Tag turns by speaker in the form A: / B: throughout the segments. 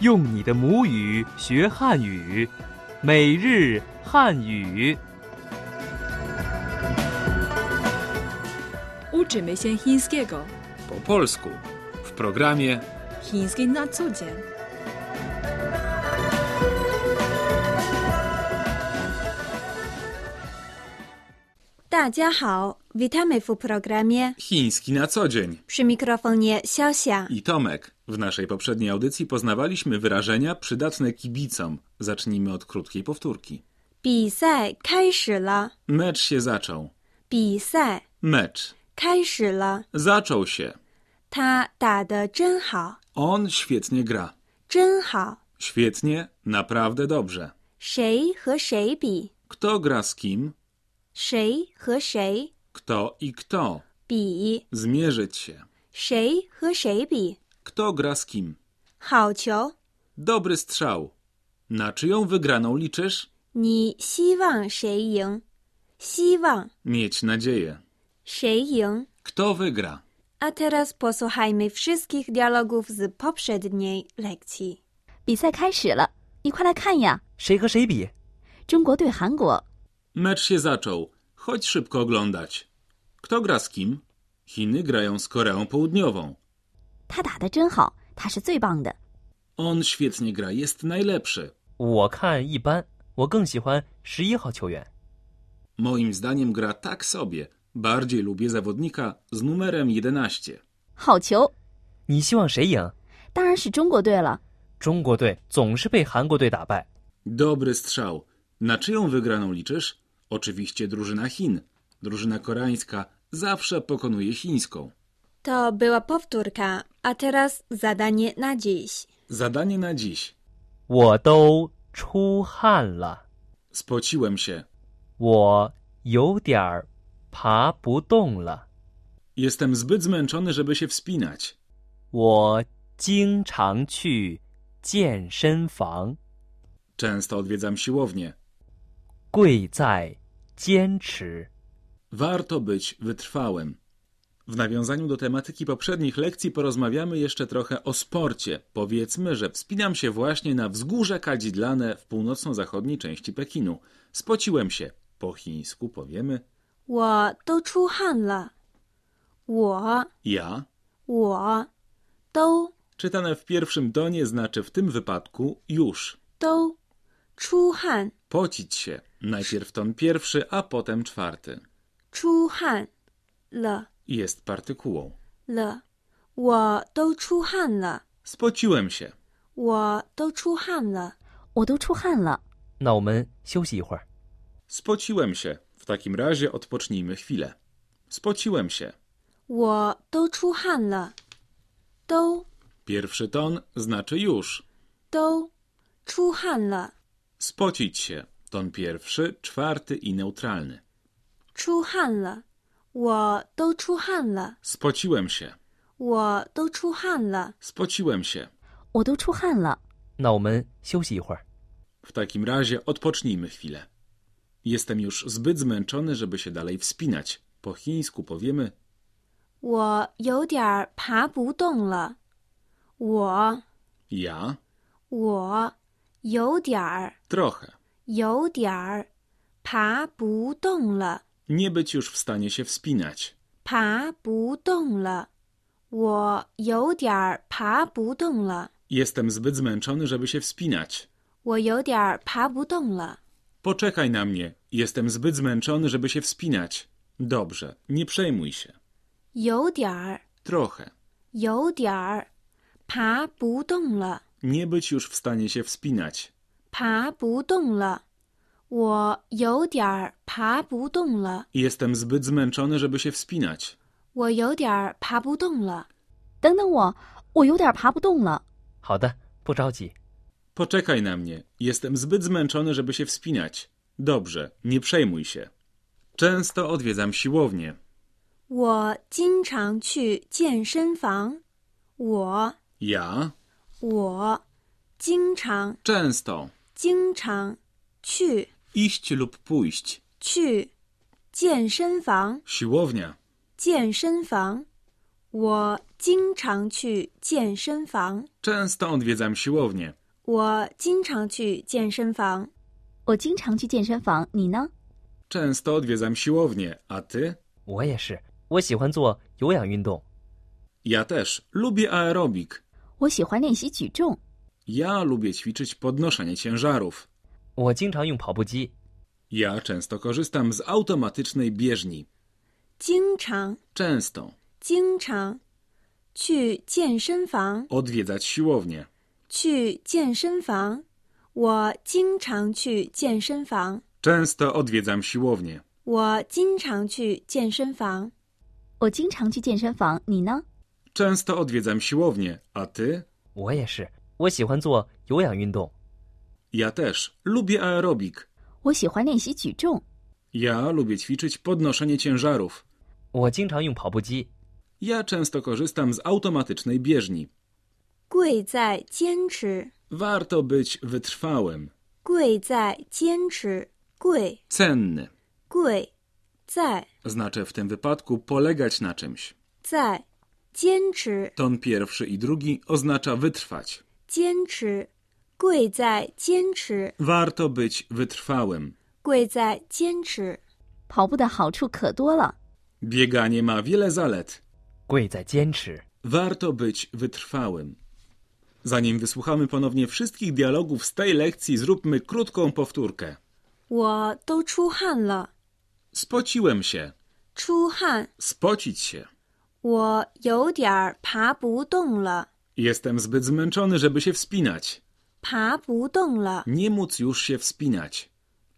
A: 用你的母语学汉语，每日汉语。
B: Uczymy się chińskiego.
C: po polsku w programie
B: Chiński na co dzień.
D: witamy w programie.
C: Chiński na co dzień
D: Przy mikrofonie Siosia.
C: i Tomek. W naszej poprzedniej audycji poznawaliśmy wyrażenia przydatne kibicom. Zacznijmy od krótkiej powtórki.
D: 比赛开始了，
C: Mecz się zaczął.
D: 比赛
C: Mecz
D: 开始了。
C: zaczął się.
D: 他打得真好，
C: On świetnie gra.
D: 真好。
C: Świetnie, naprawdę dobrze.
D: 谁和谁比？
C: Kto gra z kim?
D: 谁和谁
C: Kto i kto?
D: 比？
C: Zmierzyć się.
D: 谁和谁比？
C: Kto gra z kim?
D: 好球！
C: Dobry strzał. Na czyją wygraną liczysz?
D: 你希望谁赢？希望
C: Mieć nadzieję.
D: 谁赢
C: Kto wygra?
D: ？A teraz posłuchajmy wszystkich dialogów z poprzedniej lekcji.
E: 比赛开始了，你快来看呀！
A: 谁和谁比？
E: 中国对韩国，
C: Mecz się zaczął. Chodź szybko oglądać. Kto gra z kim? Chiny grają z Koreą Południową.
E: 他打得真好，他是最棒的。
C: On świetnie gra, jest najlepszy.
F: 我看一般，我更喜欢十一号球员。
C: Moim zdaniem gra tak sobie. Bardziej lubię zawodnika z numerem 11.
E: 好球！
F: 你希望谁赢？
E: 当然是中国队了。
F: 中国队总是被韩国队打败。
C: Dobry strzał. Na czyją wygraną liczysz? Oczywiście drużyna Chin. Drużyna koreańska zawsze pokonuje chińską.
D: To była powtórka, a teraz zadanie na dziś.
C: Zadanie na dziś.
F: 我都出汗了，
C: Spociłem się.
F: 我有点儿爬不动了。
C: Jestem zbyt zmęczony, żeby się wspinać.
F: 我经常去健身房，
C: Często odwiedzam siłownię.
F: 贵在坚持。
C: Warto być wytrwałym. W nawiązaniu do tematyki poprzednich lekcji porozmawiamy jeszcze trochę o sporcie. Powiedzmy, że wspinam się właśnie na wzgórze kadzidlane w północno-zachodniej części Pekinu. Spociłem się. Po chińsku powiemy
D: 我都出汗了，我
C: ja.
D: 我都
C: Czytane w pierwszym tonie znaczy w tym wypadku już.
D: 都出汗
C: Pocić się. Najpierw ton pierwszy, a potem czwarty.
D: 出汗了
C: Jest partykułą.
D: 了，我都出汗了，
C: Spociłem się.
D: 我都出汗了。
E: 我都出汗了，
F: 那我们休息一会儿。
C: Spociłem się. W takim razie odpocznijmy chwilę. Spociłem się.
D: 我都出汗了，都
C: Pierwszy ton znaczy już.
D: 都出汗了，
C: Spocić się. Ton pierwszy, czwarty i neutralny.
D: 出汗了，我都出汗了，
C: Spociłem się.
D: 我都出汗了。
C: Spociłem się.
E: 我都出汗了。
F: 那我们休息一会儿。
C: W takim razie odpocznijmy chwilę. Jestem już zbyt zmęczony, żeby się dalej wspinać. Po chińsku powiemy
D: 我有点儿爬不动了，我
C: ja
D: 我有点儿
C: trochę.
D: 有点儿爬不动了，
C: Nie być już w stanie się wspinać.
D: 爬不动了，我有点儿爬不动了，
C: Jestem zbyt zmęczony, żeby się wspinać.
D: 我有点儿爬不动了。
C: Poczekaj na mnie. Jestem zbyt zmęczony, żeby się wspinać. Dobrze, nie przejmuj się.
D: 有点儿
C: Trochę.
D: 有点儿爬不动了，
C: Nie być już w stanie się wspinać.
D: 爬不动了，我有点儿爬不动了，
C: Jestem zbyt zmęczony, żeby się wspinać.
D: 我有点儿爬不动了。
E: 等等我，我有点爬不动了。
F: 好的，不着急。
C: Poczekaj na mnie. Jestem zbyt zmęczony, żeby się wspinać. Dobrze, nie przejmuj się. Często odwiedzam siłownię.
D: 我经常去健身房，我
C: Ja
D: 我经常
C: często
D: 经常去
C: iść lub pójść.
D: 去健身房，
C: Siłownia.
D: 健身房，我经常去健身房。
C: Często odwiedzam siłownię.
D: 我经常去健身房。
E: 我经常去健身房，你呢？
C: Często odwiedzam siłownię, a ty?
F: 我也是，我喜欢做有氧运动。
C: Ja też. Lubię aerobik.
E: 我喜欢练习举重，
C: Ja lubię ćwiczyć podnoszenie ciężarów.
F: 我经常用跑步机。
C: Ja często korzystam z automatycznej bieżni.
D: 经常
C: Często
D: 经常去健身房。
C: odwiedzać siłownię.
D: 去健身房。我经常去健身房。
C: Często odwiedzam siłownię.
D: 我经常去健身房。
E: 我经常去健身房，你呢？
C: Często odwiedzam siłownię, a ty?
F: 我也是，我喜欢做有氧运动。
C: Ja też. Lubię aerobik.
E: 我喜欢练习举重，
C: Ja lubię ćwiczyć podnoszenie ciężarów.
F: 我经常用跑步机。
C: Ja często korzystam z automatycznej bieżni.
D: 贵在坚持，
C: Warto być wytrwałym.
D: 贵在坚持，贵
C: Cenny
D: 贵在
C: znaczy w tym wypadku polegać na czymś.
D: 在坚持
C: Ton pierwszy i drugi oznacza wytrwać.
D: 坚持，贵在坚持，
C: Warto być wytrwałym.
D: 贵在坚持。
E: 跑步的好处可多了。
C: Bieganie ma wiele zalet.
F: 贵在坚持。
C: Warto być wytrwałym. Zanim wysłuchamy ponownie wszystkich dialogów z tej lekcji, zróbmy krótką powtórkę.
D: 我都出汗了，
C: Spociłem się.
D: 出汗，
C: Spocić się.
D: 我有点儿爬不动了，
C: Jestem zbyt zmęczony, żeby się wspinać.
D: 爬不动了。
C: Nie móc już się wspinać.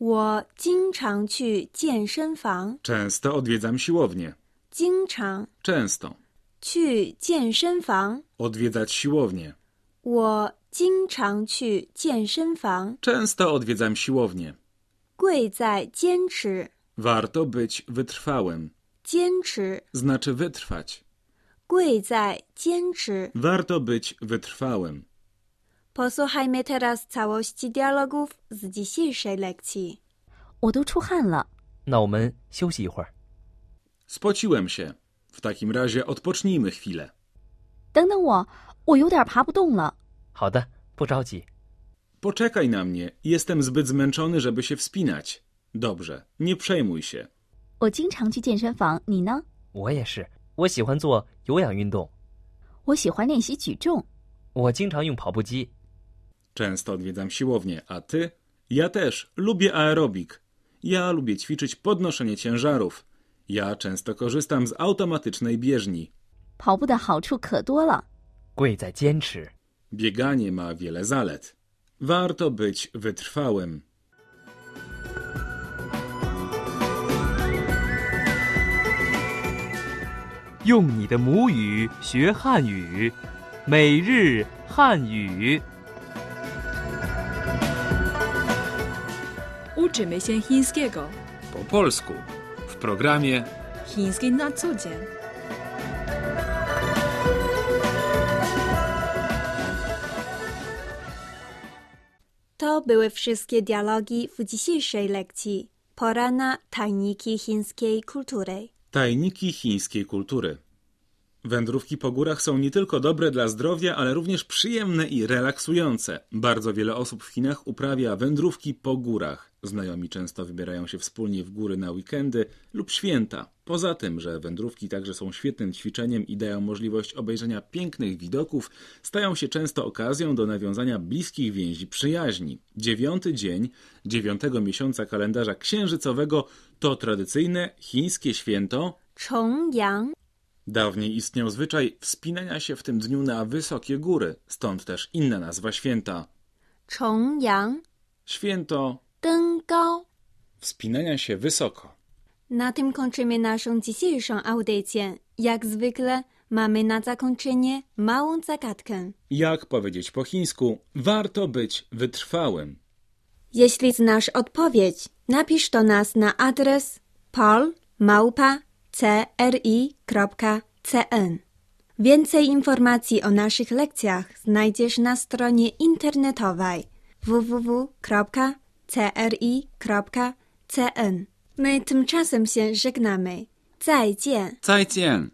D: 我经常去健身房，
C: Często odwiedzam siłownię.
D: 经常
C: Często.
D: 去健身房。
C: Odwiedzać siłownię.
D: 我经常去健身房，
C: Często odwiedzam siłownię.
D: 贵在坚持，
C: Warto być wytrwałym.
D: 坚持，
C: Znaczy wytrwać.
D: 贵在坚持。
C: Warto być wytrwałym.
D: Posłuchajmy teraz całości dialogów z dzisiejszej lekcji.
E: 我都出汗了，
F: 那我们休息一会儿。
C: Spociłem się. W takim razie odpocznijmy chwilę.
E: 等等我，我有点爬不动了。
F: 好的，不着急。
C: Poczekaj na mnie. Jestem zbyt zmęczony, żeby się wspinać. Dobrze, nie przejmuj się.
E: 我经常去健身房，你呢？
F: 我也是，我喜欢做有氧运动。
E: 我喜欢练习举重，
F: 我经常用跑步机。
C: Często odwiedzam siłownię, a ty? Ja też. Lubię aerobik. Ja lubię ćwiczyć podnoszenie ciężarów. Ja często korzystam z automatycznej bieżni.
E: 跑步的好处可多了。
F: 贵在坚持。
C: Bieganie ma wiele zalet. Warto być wytrwałym.
A: 《用你的母语学汉语》，每日汉语。
B: Uczymy się chińskiego.
C: Po polsku. W programie
B: Chiński na co dzień.
D: To były wszystkie dialogi w dzisiejszej lekcji. Pora na tajniki chińskiej kultury.
C: Tajniki chińskiej kultury. Wędrówki po górach są nie tylko dobre dla zdrowia, ale również przyjemne i relaksujące. Bardzo wiele osób w Chinach uprawia wędrówki po górach. Znajomi często wybierają się wspólnie w góry na weekendy lub święta. Poza tym, że wędrówki także są świetnym ćwiczeniem i dają możliwość obejrzenia pięknych widoków, stają się często okazją do nawiązania bliskich więzi przyjaźni. Dziewiąty dzień dziewiątego miesiąca kalendarza księżycowego to tradycyjne chińskie święto
D: 重阳
C: Dawniej istniał zwyczaj wspinania się w tym dniu na wysokie góry, stąd też inna nazwa święta.
D: 重阳
C: Święto
D: 登高。
C: wspinania się wysoko.
D: Na tym kończymy naszą dzisiejszą audycję. Jak zwykle mamy na zakończenie małą zagadkę.
C: Jak powiedzieć po chińsku, warto być wytrwałym.
D: Jeśli znasz odpowiedź, napisz do nas na adres polmałpa.cri.cn. Więcej informacji o naszych lekcjach znajdziesz na stronie internetowej www.cri.cn. My tymczasem się żegnamy. 再见。
C: Zaijian!